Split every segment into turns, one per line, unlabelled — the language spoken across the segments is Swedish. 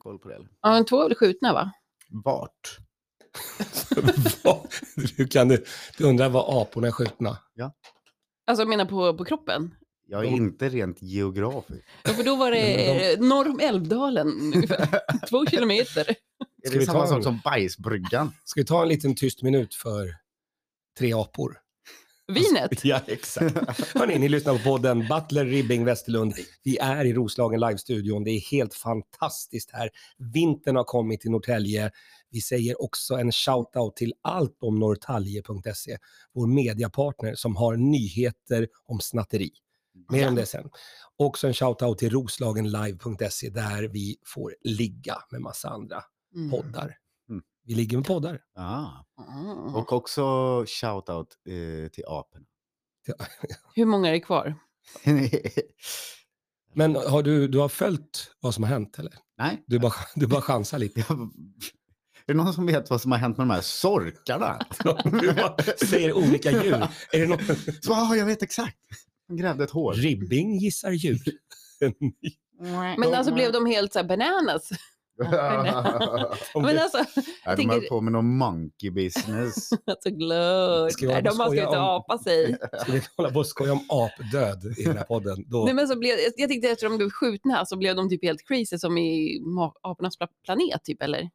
koll på det? Eller?
Ja, men två blev skjutna va?
Vart?
Vad- du kan du, du undrar var aporna är skjutna.
Alltså jag menar på, på kroppen.
Jag är
De-
inte rent geografiskt.
Ja, för då var
Nej,
det eh, norr om Älvdalen, ungefär. två kilometer.
Är
Ska
det
vi
samma
ta
sak
en?
som bajsbryggan?
Ska vi ta en liten tyst minut för tre apor?
Vinet.
Ja, exakt. Hörni, ni lyssnar på podden Butler Ribbing Västerlund. Vi är i Roslagen Live-studion. Det är helt fantastiskt här. Vintern har kommit till Norrtälje. Vi säger också en shout-out till allt om Norrtälje.se, vår mediapartner som har nyheter om snatteri. Mer om det sen. Också en shout-out till roslagenlive.se där vi får ligga med massa andra
Mm.
poddar.
Mm.
Vi ligger med poddar.
Ah.
Mm.
Och också shoutout eh, till aporna.
Hur många är det kvar?
Men har du, du har följt vad som har hänt eller?
Nej,
Du bara, du bara chansar lite.
jag... Är det någon som vet vad som har hänt med de här sorkarna?
Du bara säger olika djur. Är det någon...
Så, ah, jag vet exakt. De grävde ett hål.
Ribbing gissar djur.
Men alltså blev de helt så här bananas? Men alltså,
Nej, de
tänker-
höll på med någon monkey business.
alltså glöd.
Ska jag
Nej, De har
skoja
slutat
om-
apa sig.
Ska vi hålla på och skoja om apdöd i den här podden? Då...
Nej, men så blev, jag tänkte efter de blev skjutna så blev de typ helt crazy som i ma- apornas pla- planet typ eller?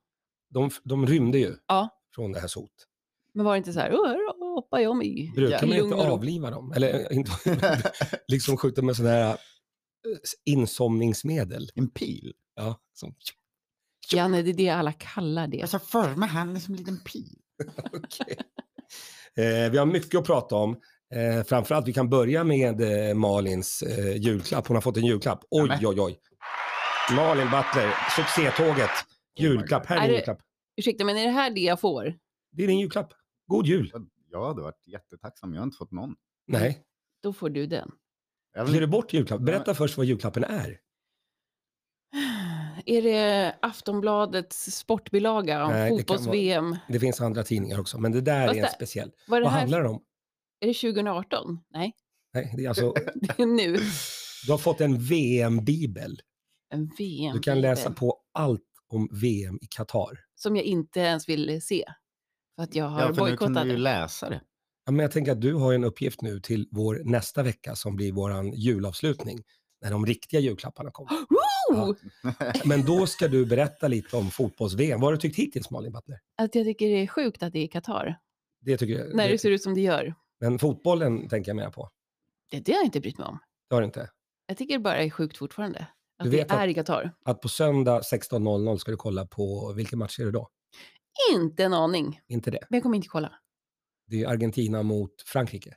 de, de rymde ju
Ja.
från det här sot.
Men var det inte så här, "Åh, här hoppar jag med i
Brukar man
lugn
inte
och ro."
avliva dem? Eller eh, inte, liksom skjuta med sådana här eh, insomningsmedel?
en pil.
Ja, som...
Janne, det är det alla kallar det.
sa för mig han är som en liten pil.
Okej. eh, vi har mycket att prata om. Eh, framförallt, vi kan börja med eh, Malins eh, julklapp. Hon har fått en julklapp. Oj,
Nämen.
oj, oj. Malin Butler, succétåget. Julklapp. Här är
Är
din
det-
julklapp.
Ursäkta, men är det här det jag får?
Det är din julklapp. God jul.
Jag hade varit jättetacksam. Jag har inte fått någon.
Nej,
Då får du den.
Jag
ger
vill...
du bort julklapp? Berätta först vad julklappen är.
Är det Aftonbladets sportbilaga om
Nej, det kan
fotbolls-VM?
Det finns andra tidningar också, men det där
Fast
är en
det-
speciell.
Vad är det
Vad
här?
handlar det om?
Är det 2018? Nej,
Nej, det är alltså,
det är nu.
du har fått en VM-bibel.
En VM.
Du kan läsa på allt om VM i Qatar.
Som jag inte ens vill se. För att jag har
Ja, för nu kunde
bojkottat.
du
det.
ju läsa det.
Ja, men jag tänker att du har ju en uppgift nu till vår nästa vecka som blir våran julavslutning när de riktiga julklapparna kommer.
Oh!
Men då ska du berätta lite om fotbolls-VM. Vad har du tyckt hittills Malin Butler?
Att jag tycker det är sjukt att det är Qatar.
Det tycker jag.
När
det-
det ser ut som det gör.
Men fotbollen tänker jag mer på.
Det, det har jag inte brytt mig om.
Det har du inte.
Jag tycker det bara är sjukt fortfarande.
Du
Att det
vet att-
är i Qatar.
Att på söndag 16.00 ska du kolla på, vilken match är det då?
Inte en aning.
Inte det.
Men jag kommer inte kolla.
Det är Argentina mot Frankrike.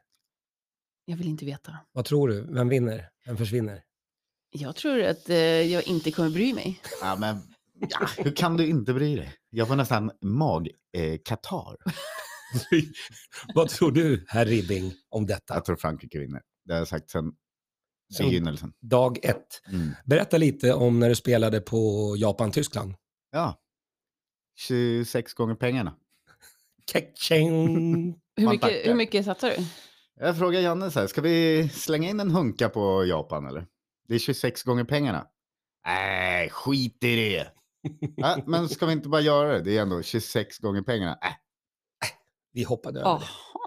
Jag vill inte veta.
Vad tror du? Vem vinner? Vem försvinner?
Jag tror att eh, jag inte kommer bry mig.
Ja, men, ja, hur kan du inte bry dig? Jag får nästan eh, magkatar.
Vad tror du, herr Ribbing, om detta?
jag tror Frankrike vinner. Det har jag sagt sedan
Sen-
begynnelsen.
Dag ett.
Mm.
Berätta lite om när du spelade på Japan-Tyskland.
Ja. 26 gånger pengarna.
Ketching.
Hur
Man
mycket,
tackar.
hur mycket satsar du?
Jag frågar Janne så här, ska vi slänga in en hunka på Japan eller? Det är 26 gånger pengarna. Nej, äh, skit i det. Ja, men ska vi inte bara göra det? Det är ändå 26 gånger pengarna. Äh,
Vi hoppade över
Jaha.
det.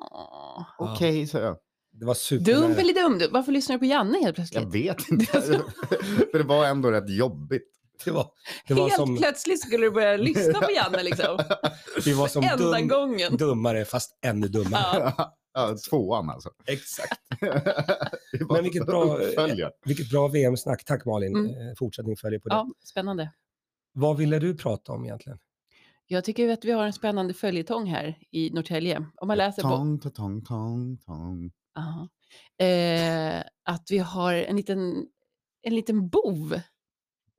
Ja.
Okej, sa jag.
Det var super.
Ah. Dum eller dum du. Varför lyssnar du på Janne helt plötsligt?
Jag vet inte. För det var ändå rätt jobbigt.
Det var, det var
helt
som,
plötsligt skulle du börja lyssna på Janne liksom.
vi var som
Enda
dum,
gången. Ah.
dummare fast ännu dummare.
Ja.
Ja, tvåan alltså.
Exakt.
Det var
Men vilket bra-
eh,
uppföljare.
Vilket bra VM-snack. Tack Malin.
Mm.
Eh, Fortsättning följer på det.
ja, spännande.
Vad ville du prata om egentligen?
Jag tycker ju att vi har en spännande följetong här i Norrtälje. Om man läser på...
Tong, tong, tong, tong, tong.
Aha. Eh, att vi har en liten, en liten bov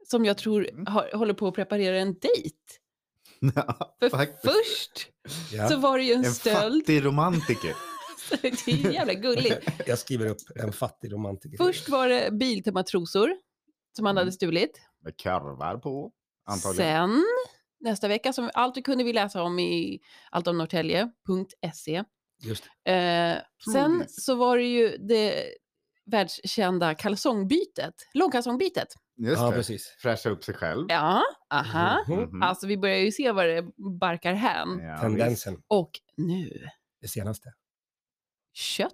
som jag tror
Mm.
har, håller på att preparera en dejt.
Ja,
För
faktiskt.
först
Ja,
så var det ju en,
En
stöld.
fattig romantiker.
Så det är ju jävla gulligt.
Jag skriver upp en fattig romantiker.
Först var det Biltema-trosor som han
Mm.
hade stulit.
Med karvar på. Antagligen.
Sen nästa vecka, som allt vi kunde vi läsa om i alltomnorrtälje.se.
Just det.
Eh, sen
Troligt.
så var det ju det världskända kalsongbytet, långkalsongbytet.
Just
ja,
det.
precis.
Fräscha upp sig själv.
Ja, aha.
Mhm.
Mhm.
Alltså vi börjar ju se vad det barkar hän.
Ja, visst.
Tendensen,
Och nu,
det senaste.
kött,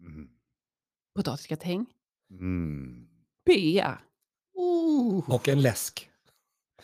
Mm.
potatisgratäng,
Mm.
bea.
Oh.
Och en läsk.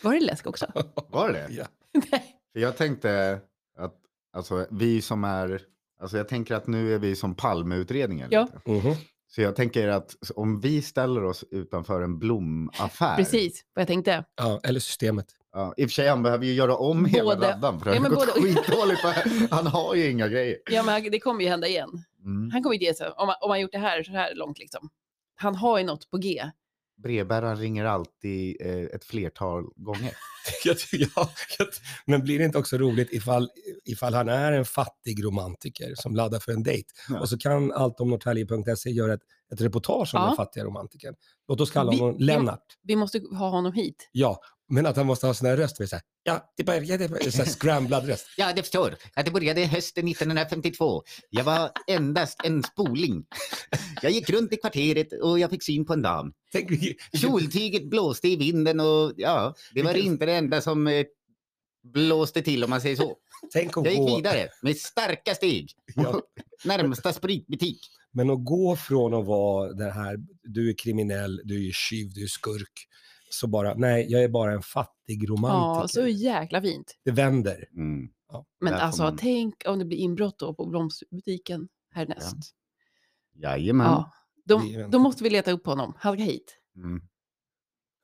Var det läsk också?
Var det
Ja.
Nej.
För jag tänkte att alltså, vi som är, alltså jag tänker att nu är vi som Palmeutredningen.
Ja.
lite.
Mhm.
Så jag tänker att om vi ställer oss utanför en blomaffär.
Precis vad jag tänkte.
ja, eller systemet.
Ja, I och för sig, han behöver ju göra om hela
Både-
raddan för det
Ja,
har
men
gått
både-
skitdåligt. på- Han har ju inga grejer.
Ja, men det kommer ju hända igen.
Mm.
Han kommer ju ge sig om han, om han gjort det här så här långt liksom. Han har ju något på G.
Brevbäraren ringer alltid eh, ett flertal gånger.
Jag ty- ja, jag ty- men blir det inte också roligt ifall, ifall han är en fattig romantiker som laddar för en dejt?
Ja.
Och så kan allt om Norrtälje.se göra ett, ett reportage om
Ja.
den fattiga romantikern. Låt oss kalla
Vi-
honom
vi-
Lennart.
Vi måste ha honom hit.
Ja, men att han måste ha sån här röst. Med så här, ja, det började med så här scramblad röst.
Ja, det förstår. Att det började hösten 1952. Jag var endast en spoling. Jag gick runt i kvarteret och jag fick syn på en dam.
Tänk, vilken-
Kjoltyget blåste i vinden och ja, det var
Vilken-
inte det enda som eh, blåste till om man säger så.
tänk att
Jag
gå,
gick vidare med starka steg.
Ja.
Närmsta spritbutik.
Men att gå från att vara det här, du är kriminell, du är tjuv, du är skurk, så bara, nej, jag är bara en fattig
Ja,
romantiker.
så jäkla fint.
Det vänder.
Mm.
Men
Där får
alltså
man-
tänk om det blir inbrott då på blomsterbutiken härnäst.
Jajamän.
Ja.
Det är
Då,
en-
då måste vi leta upp honom. Han ska hit.
Mm.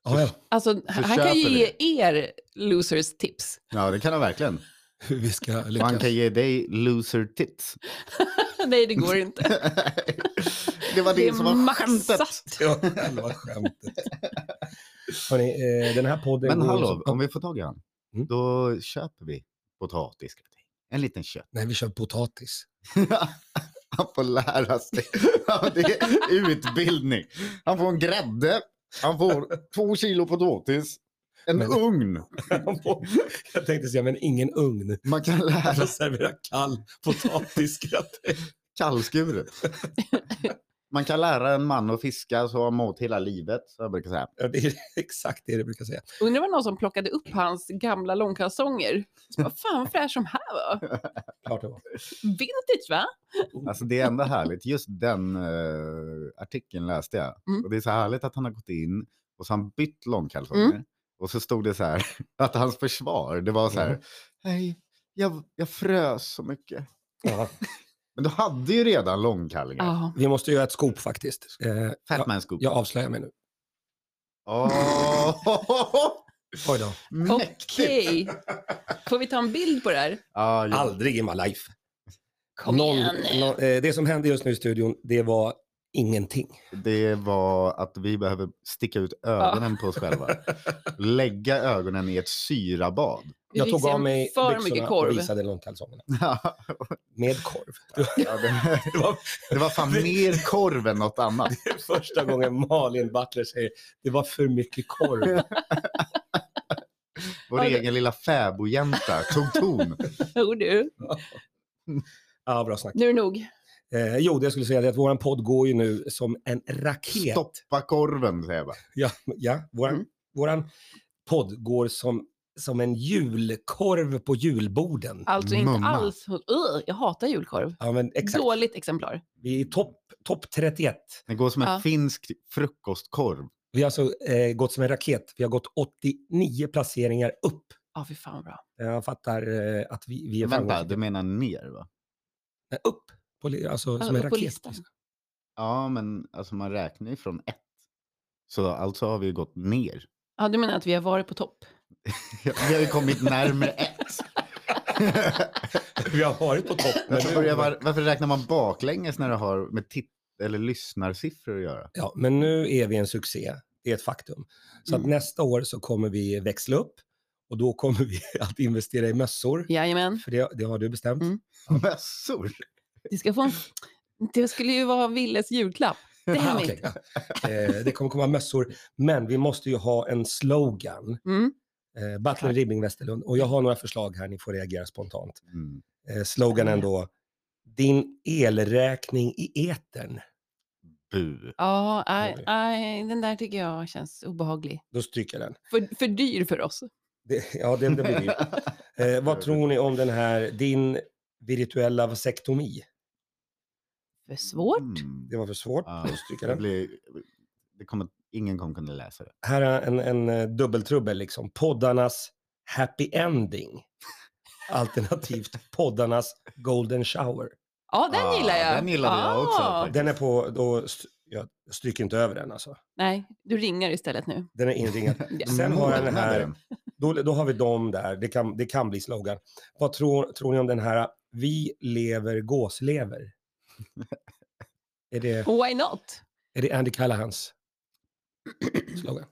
Ja, ja.
Alltså, han
köper
kan ju
vi
ge er losers tips.
Ja, det kan han verkligen.
Hur vi ska lyckas.
Man kan ge dig loser tits.
Nej, det går inte.
det var det, som var skämtet.
maxat.
Ja, själva skämtet. Hörrni, eh, den här podden...
Men
går
hallå,
också-
om vi får tag i han,
Mm.
då köper vi potatisgratäng. En liten kött.
Nej, vi kör potatis.
han får lära sig. Ja, det är utbildning. Han får en grädde, han får två kilo potatis, en
Men-
ugn.
jag tänkte säga, men ingen ugn.
Man kan lära sig
Alltså servera kall potatisgratäng.
kallskuret. Man kan lära en man att fiska så har han mat hela livet. Så jag brukar säga.
Ja, det är exakt det du brukar säga.
Undrar var någon som plockade upp hans gamla långkalsonger. Så bara, Fan vad fräsch de här var.
Klart det var.
Vintage va?
Alltså det är ändå härligt. Just den eh, artikeln läste jag.
Mm.
Och det är så härligt att han har gått in och så har han bytt långkalsonger.
Mm.
Och så stod det så här att hans försvar, det var så här.
Mm.
Hej, jag, jag frös så mycket.
Ja,
Men du hade ju redan långkallingar.
Ja.
vi måste göra ett skop faktiskt. Eh,
Fat
jag,
man scoop.
jag avslöjar mig nu.
Åh,
Oj då.
mäktigt.
Okej. Får vi ta en bild på det här?
Ja, jo.
Aldrig i my life.
Kom
Noll-
igen nu.
noll- eh, det som hände just nu i studion, det var ingenting.
Det var att vi behöver sticka ut ögonen på oss själva. Lägga ögonen i ett syrabad.
Vi
jag
fick
tog
se
av mig
för mycket
byxorna och
korv.
visade långkalsongerna.
Ja,
Med korv.
det,
Det var
det var fan mer korv än något annat.
första gången Malin Butler säger det var för mycket korv.
Vår
Ja, det-
egen lilla fäbodjänta tog ton.
Jo du,
Ja, bra snack.
nu är det nog.
Eh, jo, det jag skulle säga är att vår podd går ju nu som en raket.
Stoppa korven, säger jag bara.
Ja, ja våran,
Mm.
våran podd går som, som en julkorv på julborden.
Alltså inte
Mumma.
alls. Ugh, jag hatar julkorv.
Ja, men exakt.
Dåligt exemplar.
Vi är i topp top 31.
Den går som en
Ja.
finsk frukostkorv.
Vi har alltså eh, gått som en raket. Vi har gått 89 placeringar upp.
Ja, fy fan vad bra.
Jag fattar eh, att vi, vi är
Vänta,
framgångsrika.
du menar ner, va?
Nej, Upp, på, li- alltså som en
upp på
raket.
listan.
Ja, men alltså man räknar ju från ett. Så alltså har vi ju gått ner.
Ja, du menar att vi har varit på topp?
Vi har ju kommit närmare ett.
Vi har varit på topp. men
Varför,
nu-
börjar man- varför räknar man baklänges när det har med titt eller lyssnarsiffror att göra?
Ja, men nu är vi en succé. Det är ett faktum. Så att
Mm.
nästa år så kommer vi växla upp och då kommer vi att investera i mössor.
Jajamän.
För det, det har du bestämt.
Mm.
Mössor?
Du ska få en... Det skulle ju vara Willes julklapp.
Ah,
Damn
okej,
it.
ja. eh, det kommer komma mössor, men vi måste ju ha en slogan.
Mm.
Eh, Butler
Klart.
Ribbing Westerlund. Och jag har några förslag här, ni får reagera spontant.
Mm.
Eh, sloganen då. Din elräkning i etern.
Bu.
Ja, nej,
Oj.
nej, den där tycker jag känns obehaglig.
Då stryker jag den.
För, för dyr för oss.
Det, ja, det, det blir dyrt. Eh, vad tror ni om den här, din virtuella vasektomi?
För svårt.
Mm.
Det var för svårt.
Ja,
Då
det
stryker jag den.
blir, det kommer, ingen kommer kunna läsa det.
Här är en, en eh, dubbeltrubbel liksom. Poddarnas happy ending. Alternativt poddarnas golden shower.
Ja, den
Ah,
gillar jag.
den gillade jag också
Ah,
faktiskt.
Den är på, då, st- jag stryker inte över den alltså.
Nej, du ringar istället nu.
Den är inringad.
Ja.
Sen har jag den här,
Mognaden.
då, då har vi dem där, det kan, det kan bli slogan. Vad tror, tror ni om den här, vi lever gåslever? är, det,
Why not?
är det Andy Callahans slogan?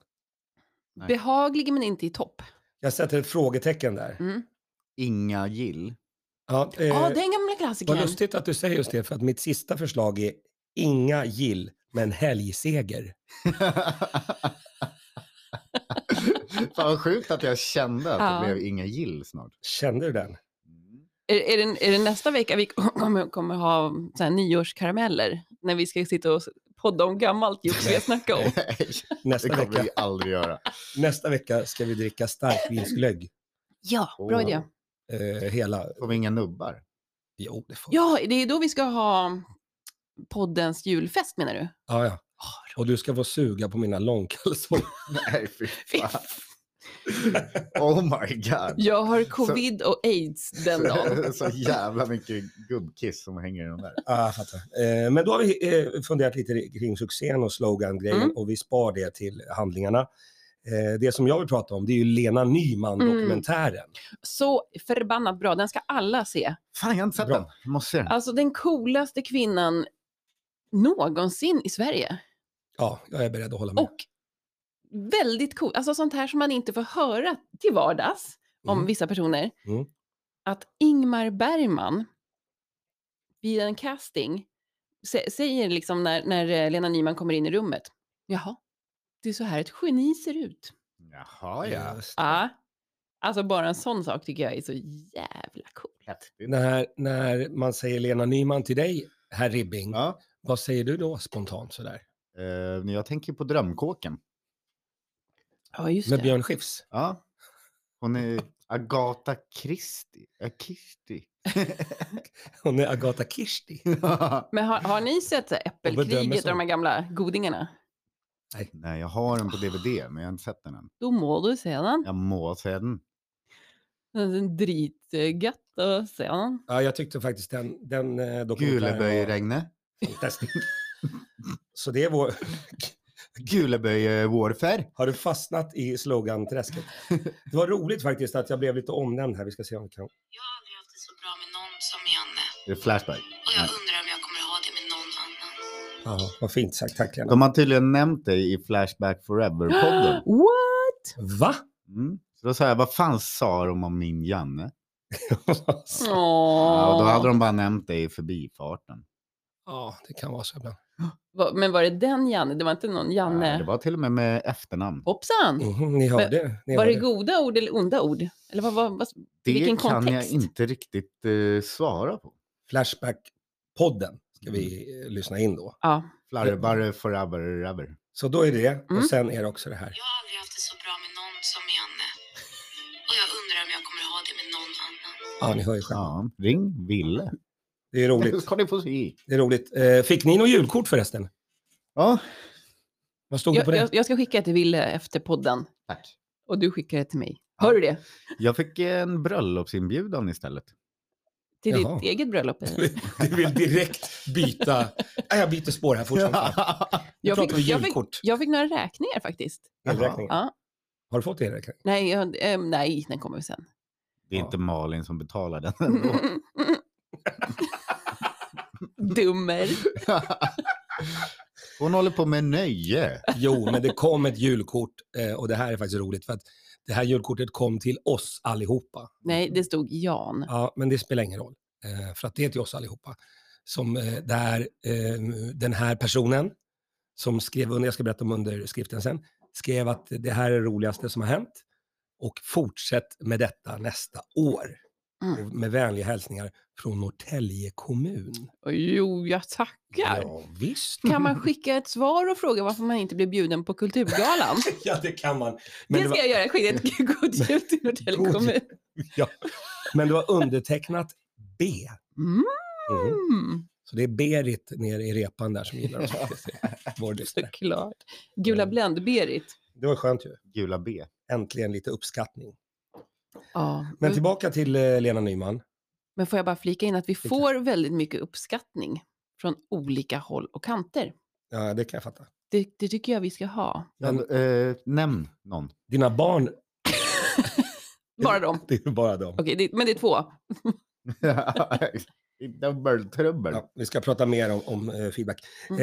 Nej.
Behaglig men inte i topp.
Jag sätter ett frågetecken där.
Mm.
Inga gill.
Ja, eh,
Ja, den gamla
vad
klassikern.
lustigt att du säger just det, för att mitt sista förslag är inga gill, men helgseger.
Fan vad sjukt att jag kände att
Ja.
det blev inga gill snart.
Kände du den?
Är, är, det, är det nästa vecka vi kommer, kommer ha så här nyårskarameller? När vi ska sitta och podda om gammalt gjort vi har snackat om.
Nej, det
Nästa
kommer
vecka,
vi aldrig göra.
nästa vecka ska vi dricka starkvinsglögg.
Ja, bra
Åh.
idé.
Eh, hela,
Får vi inga nubbar?
jo det får
Ja, det är då vi ska ha poddens julfest menar du?
Ja, ja. Och du ska få suga på mina långkalsonger.
Nej, fy fan. Oh my god.
Jag har covid och aids den dagen.
Så jävla mycket gubbkiss som hänger i de där.
Ja, jag fattar. Eh, Men då har vi eh, funderat lite kring succén och slogan-grejen
Mm.
och vi spar det till handlingarna. Eh, Det som jag vill prata om det är ju Lena Nyman-dokumentären.
Mm. Så förbannat bra, den ska alla se.
Fan, jag har inte sett
Bra.
den. Jag Måste se den.
Alltså den coolaste kvinnan någonsin i Sverige.
Ja, jag är beredd att hålla med.
Och väldigt cool, alltså sånt här som man inte får höra till vardags om
Mm.
vissa personer.
Mm.
Att Ingmar Bergman vid en casting sä- säger liksom när, när eh, Lena Nyman kommer in i rummet. Jaha, det är så här ett geni ser ut.
Jaha, ja.
Just det.
Ja, alltså bara en sån sak tycker jag är så jävla cool.
Häftigt.
När, när man säger Lena Nyman till dig, herr Ribbing,
Ja.
vad säger du då spontant sådär?
Eh, jag tänker på drömkåken.
Ja, just
Med
det.
Björn Skifs?
Ja. Hon är Agatha Christie. Ja, Christie.
Hon är Agatha Kirsti.
Men har, har ni sett så här Äppelkriget och
som-
de här gamla godingarna?
Nej, jag har den på DVD, men jag har inte sett den än.
Då mår du sedan.
Jag må se den.
Den dritgött att se den.
Ja, jag tyckte faktiskt den, den eh, dokumentären var
Guleböjeregne.
fantastisk. Så det är vår...
Guleböje-vårfärg.
Har du fastnat i sloganträsket? Det var roligt faktiskt att jag blev lite omnämnd här. Vi ska se om vi kan...
Jag har aldrig haft det så bra med någon som Janne.
Det är Flashback.
Och jag
Nej.
undrar om jag kommer ha det med någon annan.
Ja, vad fint sagt. Tack Lena.
De har tydligen nämnt dig i Flashback Forever-podden.
What?
Va?
Mm. Så då sa jag, vad fan sa de om min Janne?
Åh.
Ja, och då hade de bara nämnt dig i förbifarten.
ja, det kan vara så ibland.
Va- Men var det den Janne? Det var inte någon Janne?
Ja, Det Mm, var till och med med efternamn.
Hoppsan!
Mhm, ni hörde. Ni
Var
hörde.
det goda ord eller onda ord? Eller vad, vad, vad...
Det
vilken
kan jag
kontext?
inte riktigt eh, svara på.
Flashback-podden ska vi eh, lyssna in då.
Ja.
Flarvare forever rubber.
Så då är det det.
Mm.
Och sen är det också det här.
Jag har aldrig haft det så bra med någon som Janne. Och jag undrar om jag kommer ha det med någon annan.
Ja, ni hör ju själva.
Ja, ring Ville.
Det är
Nu
roligt.
ska ni få se.
Det är roligt. Eh, Fick ni något julkort förresten?
Ja,
Vad stod det
Jag,
på det?
jag, jag ska skicka ett till Ville efter podden
tack.
och du skickar det till mig. Hör du det?
Jag fick eh, en bröllopsinbjudan istället.
Till
Jaha.
ditt eget bröllop? eller?
Du vill direkt byta. Nej, jag byter spår här fort som fan. Nu
Jag
pratar
fick,
vi
jag, fick,
julkort.
jag fick några räkningar faktiskt.
Elräkningen.
Ja.
Har du fått elräkning?
Nej, jag, eh, nej, den kommer sen.
Det är
Ja.
inte Malin som betalar den. ändå.
Dummer.
Hon håller på med nöje.
Jo, men det kom ett julkort eh, och det här är faktiskt roligt för att det här julkortet kom till oss allihopa.
Nej, det stod Jan.
Ja, men det spelar ingen roll eh, för att det är till oss allihopa. Som eh, där eh, den här personen som skrev under, jag ska berätta om underskriften sen, skrev att det här är det roligaste som har hänt och fortsätt med detta nästa år.
Mm.
Och med vänliga hälsningar från Norrtälje kommun.
Och jo, jag tackar.
Ja, visst.
Kan man skicka ett svar och fråga varför man inte blev bjuden på Kulturgalan?
Ja, det kan man.
det
det
ska
var,
jag göra. Skicka ett god jul till Norrtälje
God jul.
kommun.
men det var undertecknat B. Mhm.
Mm,
Så det är Berit nere i repan där som gillar oss. faktiskt. Vår lyssnare.
såklart. Gula
Mm.
Blend-Berit.
Det var skönt ju.
Gula B.
Äntligen lite uppskattning.
Ja.
Men tillbaka till eh, Lena Nyman.
Men får jag bara flika in att vi
kan-
får väldigt mycket uppskattning från olika håll och kanter.
Ja, det kan jag fatta.
Det, det tycker jag vi ska ha.
Ja,
Men-
eh, nämn någon.
Dina barn,
Bara dem.
det är bara dem.
Okej, det, men det är två.
Dubbeltrubbel.
Ja, vi ska prata mer om, om eh, feedback.
Mm.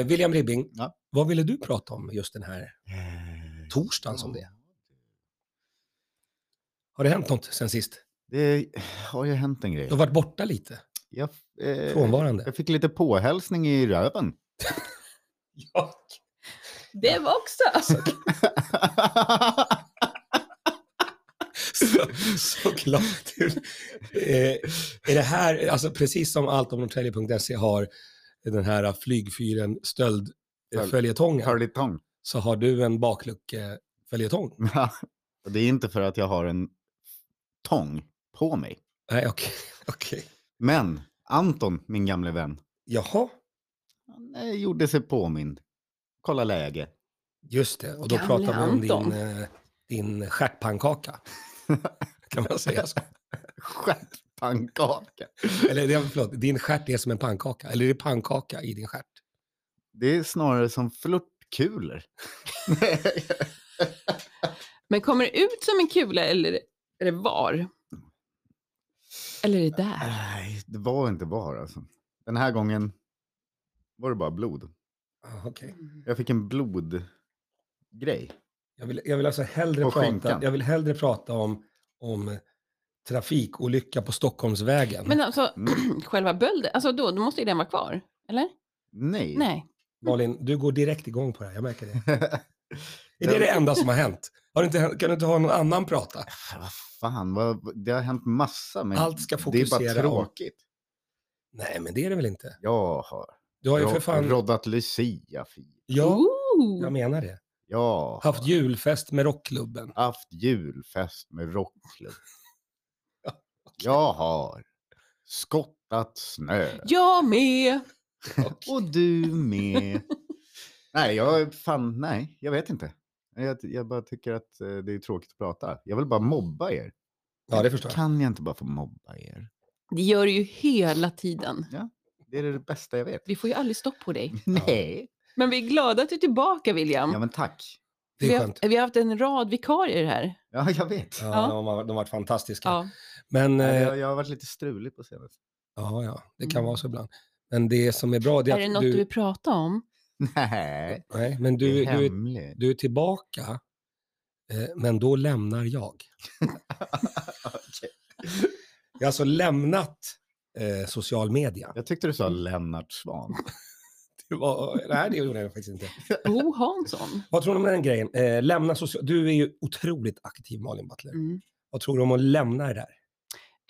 Eh, William Ribbing,
Ja.
vad ville du prata om just den här
Eh,
torsdagen som det är? Har det hänt något sen sist?
Det har ju hänt en grej.
Du har varit borta lite,
Jag, eh,
frånvarande.
jag fick lite påhälsning i röven.
Ja.
Det var också.
Så, såklart. eh, är det här, alltså precis som allt om Norrtälje.se har den här flygfyren stöld eh,
Följ-
följetongen
Hörlitång.
så har du en baklucke följetong.
Och det är inte för att jag har en tång på mig.
Nej, okej. okej.
Men Anton, min gamle vän,
Jaha,
han eh, gjorde sig påmind. Kolla läge.
just det. Och då
Gamle
pratar vi om
Anton.
din, eh, din stjärtpannkaka. kan man säga så?
Stjärtpannkaka.
Eller det- förlåt, din stjärt är som en pannkaka. Eller är det pannkaka i din stjärt?
Det är snarare som flörtkulor.
Men kommer det ut som en kula eller är det var? Eller är det där?
Nej, det var inte bara alltså. Den här gången var det bara blod.
Ah, okej.
Mm.
Jag fick en blodgrej.
Jag vill, jag vill alltså hellre
Och
prata,
skinkan.
jag vill hellre prata om, om trafikolycka på Stockholmsvägen.
Men alltså,
Mm.
själva bölden, alltså då, då måste ju den vara kvar. Eller?
Nej.
Nej.
Malin, du går direkt igång på det här, jag märker det. Är det
Jag-
det enda som har hänt? Har det inte, hänt- kan du inte ha någon annan prata?
Vad fan, vad, det har hänt massa. Men
Allt ska
Det är
fokusera
bara
om-
tråkigt.
Nej, men det är det väl inte?
Jag har
Du har ju för
ro-
fan...
roddat Lucia. fi.
Ja,
Ooh.
jag menar det.
Jag har
Haft julfest med rockklubben.
haft julfest med rockklubb. Jag har skottat snö.
Jag med.
Och du med. nej, jag, fan, nej, jag vet inte. Jag, jag bara tycker att eh, det är tråkigt att prata. Jag vill bara mobba er.
Ja, det förstår jag.
Kan jag inte bara få mobba er?
Det gör du ju hela tiden.
Det är det bästa jag vet.
Vi får ju aldrig stopp på dig.
Nej.
Men vi är glada att du är tillbaka, William.
Mm. Ja, men tack.
Det
vi,
är
har,
skönt.
vi har haft en rad vikarier här.
Ja, jag vet.
Ja, de har, de har varit fantastiska.
Ja.
Men...
Nej,
eh,
Jag, jag har varit lite strulig på senaste.
Ja, ja, det kan
Mm.
vara så ibland. Men det som är bra det
Är det
är att
något du
du...
vill prata om?
Nej,
Nej, men
du,
du,
det är
du, är,
hemligt.
du är tillbaka, eh, men då lämnar jag. Jag har alltså lämnat eh, social media.
Jag tyckte du sa Lennart Svan.
Det var, nej, det gjorde jag faktiskt inte.
Bo Hansson?
Vad tror du om den grejen? Eh, lämna social... Du är ju otroligt aktiv, Malin Butler.
Mm.
Vad tror du om att lämna det där?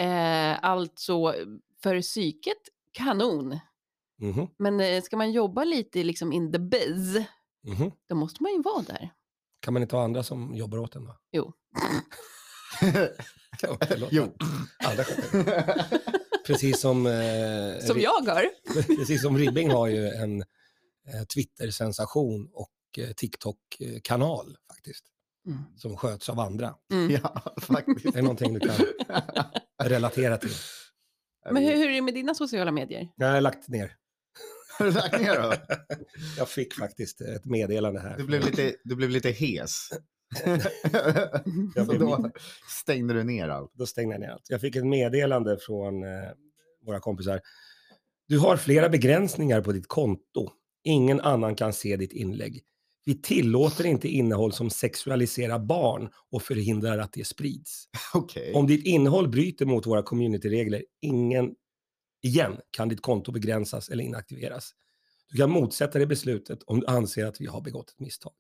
Eh, alltså, för psyket, kanon.
Mhm,
Men eh, ska man jobba lite liksom in the biz,
mhm.
då måste man ju vara där.
Kan man inte ha andra som jobbar åt en då?
Jo.
Kan man inte
Jo.
låta Andra sköta det? Precis som... Eh,
Som jag gör.
Precis som Ribbing har ju en eh, Twitter-sensation och eh, TikTok-kanal faktiskt,
Mm.
som sköts av andra.
Mm.
ja, faktiskt.
Är det någonting du kan relatera till?
Men hur, hur är det med dina sociala medier?
Jag har lagt ner.
Har du lagt ner då?
Jag fick faktiskt ett meddelande här.
Du blev lite, du blev lite hes.
Jag
Så
blev
då stängde du ner allt.
Då stängde jag ner allt. Jag fick ett meddelande från eh, våra kompisar. Du har flera begränsningar på ditt konto. Ingen annan kan se ditt inlägg. Vi tillåter inte innehåll som sexualiserar barn och förhindrar att det sprids.
Okej.
Om ditt innehåll bryter mot våra communityregler, ingen igen kan ditt konto begränsas eller inaktiveras. Du kan motsätta dig beslutet om du anser att vi har begått ett misstag.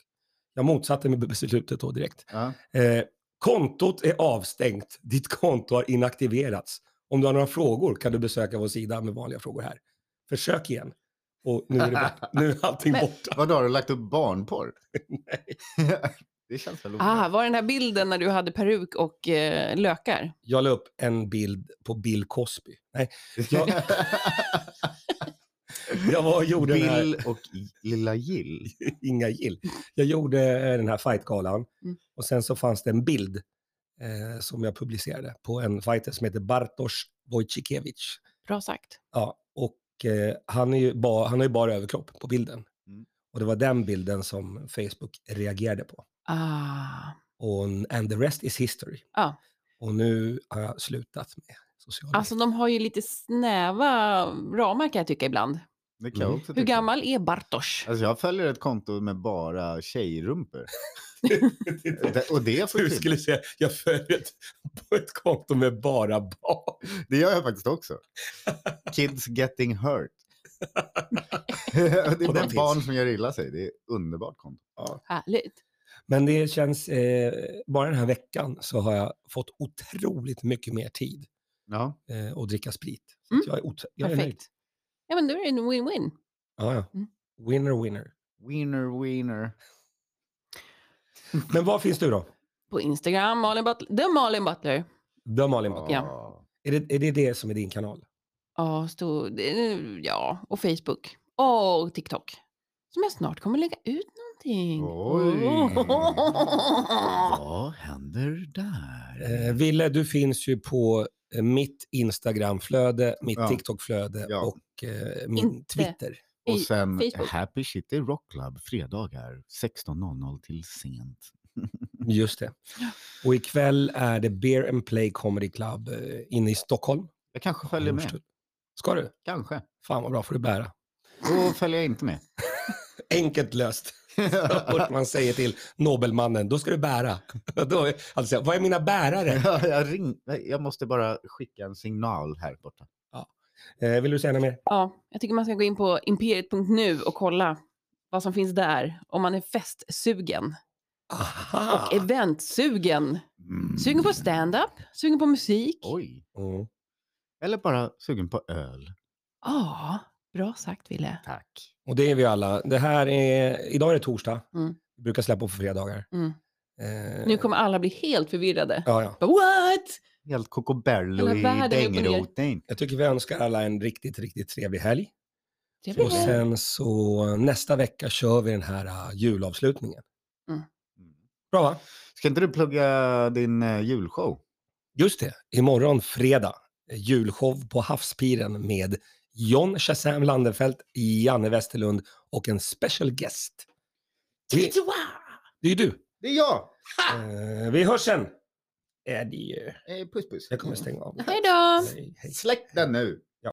Jag motsatte mig beslutet då direkt.
Ja.
Eh, Kontot är avstängt. Ditt konto har inaktiverats. Om du har några frågor kan du besöka vår sida med vanliga frågor här. Försök igen. Och nu är, det bort, nu är allting
Men-
borta.
Vadå, har du lagt upp barnporr? Nej. det känns väl
Ah,
onödigt.
var den här bilden när du hade peruk och eh, lökar?
Jag la upp en bild på Bill Cosby. Nej, ja. jag var och gjorde den här,
Bill och i- lilla Jill.
inga gill. Jag gjorde eh, den här fightgalan
Mm.
och sen så fanns det en bild eh, som jag publicerade på en fighter som heter Bartosz Wojcikiewicz.
Bra sagt.
Ja, och eh, han, är ju ba, han har ju bara överkropp på bilden.
Mm.
Och det var den bilden som Facebook reagerade på.
Ah.
Och, and the rest is history.
Ja.
Och nu har jag slutat med sociala
Alltså de har ju lite snäva ramar kan jag tycka ibland.
Det kan jag
Mm.
också
Hur
tycka.
gammal är Bartosz?
Alltså jag följer ett konto med bara tjejrumpor.
medier.
Det- Och det får
Du
finnas.
skulle säga, jag följer ett, på ett konto med bara barn.
Det gör jag faktiskt också. Kids getting hurt. det
Och
är
de
bara
finns.
barn som gör illa sig. Det är ett underbart konto.
Härligt.
Men det känns, eh, bara den här veckan så har jag fått otroligt mycket mer tid
Ja.
eh, att dricka sprit. Så
Mm.
att jag är, ot- jag är nöjd.
Perfekt. Ja men då är det en win-win.
Ja, ja.
Mm.
Winner, winner.
Wiener, wiener.
Men var finns du då?
På Instagram, Malin Butler. The Malin Butler.
Dö Malin.
Ah.
Butler.
Ja.
Är, det, är det det som är din kanal?
Ja, stor, det- ja, och Facebook. Och TikTok. Som jag snart kommer lägga ut någonting.
Oj.
Oh.
Vad händer där?
Eh, Ville, du finns ju på eh, mitt Instagramflöde, mitt
Ja.
TikTokflöde
Ja.
och eh, min
Inte.
Twitter.
Och
i
sen
Facebook.
Happy City Rock Club fredagar 16.00 till sent.
Just det. Och ikväll är det Beer and Play Comedy Club eh, inne i Stockholm.
Jag kanske följer med.
Ska du?
Kanske.
Fan vad bra, får du bära.
Då följer jag inte med.
Enkelt löst. Så fort man säger till Nobelmannen, då ska du bära. Då är, alltså, vad är mina bärare?
Ja, jag, ring, jag måste bara skicka en signal här borta.
Eh, vill du säga något mer?
Ja, jag tycker man ska gå in på imperiet.nu och kolla vad som finns där. Om man är festsugen.
Aha!
Eventsugen.
Ah. Mm.
Sugen på stand-up, sugen på musik.
Oj.
Mm.
Eller bara sugen på öl.
Ja, bra sagt Ville.
Tack.
Och det är vi alla. Det här är, idag är det torsdag.
Mm.
Vi brukar släppa på fredagar.
Mm.
Eh,
Nu kommer alla bli helt förvirrade.
ja, ja.
Bara, What?
Helt kokobello
Hela
i
världen är upp och ner.
dängroten.
Jag tycker vi önskar alla en riktigt, riktigt trevlig helg.
Det blir
Och
det.
sen så nästa vecka kör vi den här eh, julavslutningen.
Mm.
Bra va?
Ska inte du plugga din eh, julshow?
Just det, imorgon fredag. eh, Julshow på Havspiren med John Shazam Landenfelt, Janne Westerlund och en special guest. Vi, det är ju du.
Det är jag!
Eh, vi hörs sen. Är det ju.
Eh, puss puss.
Jag kommer stänga av.
Hej då!
Hej, hej.
Släck den nu!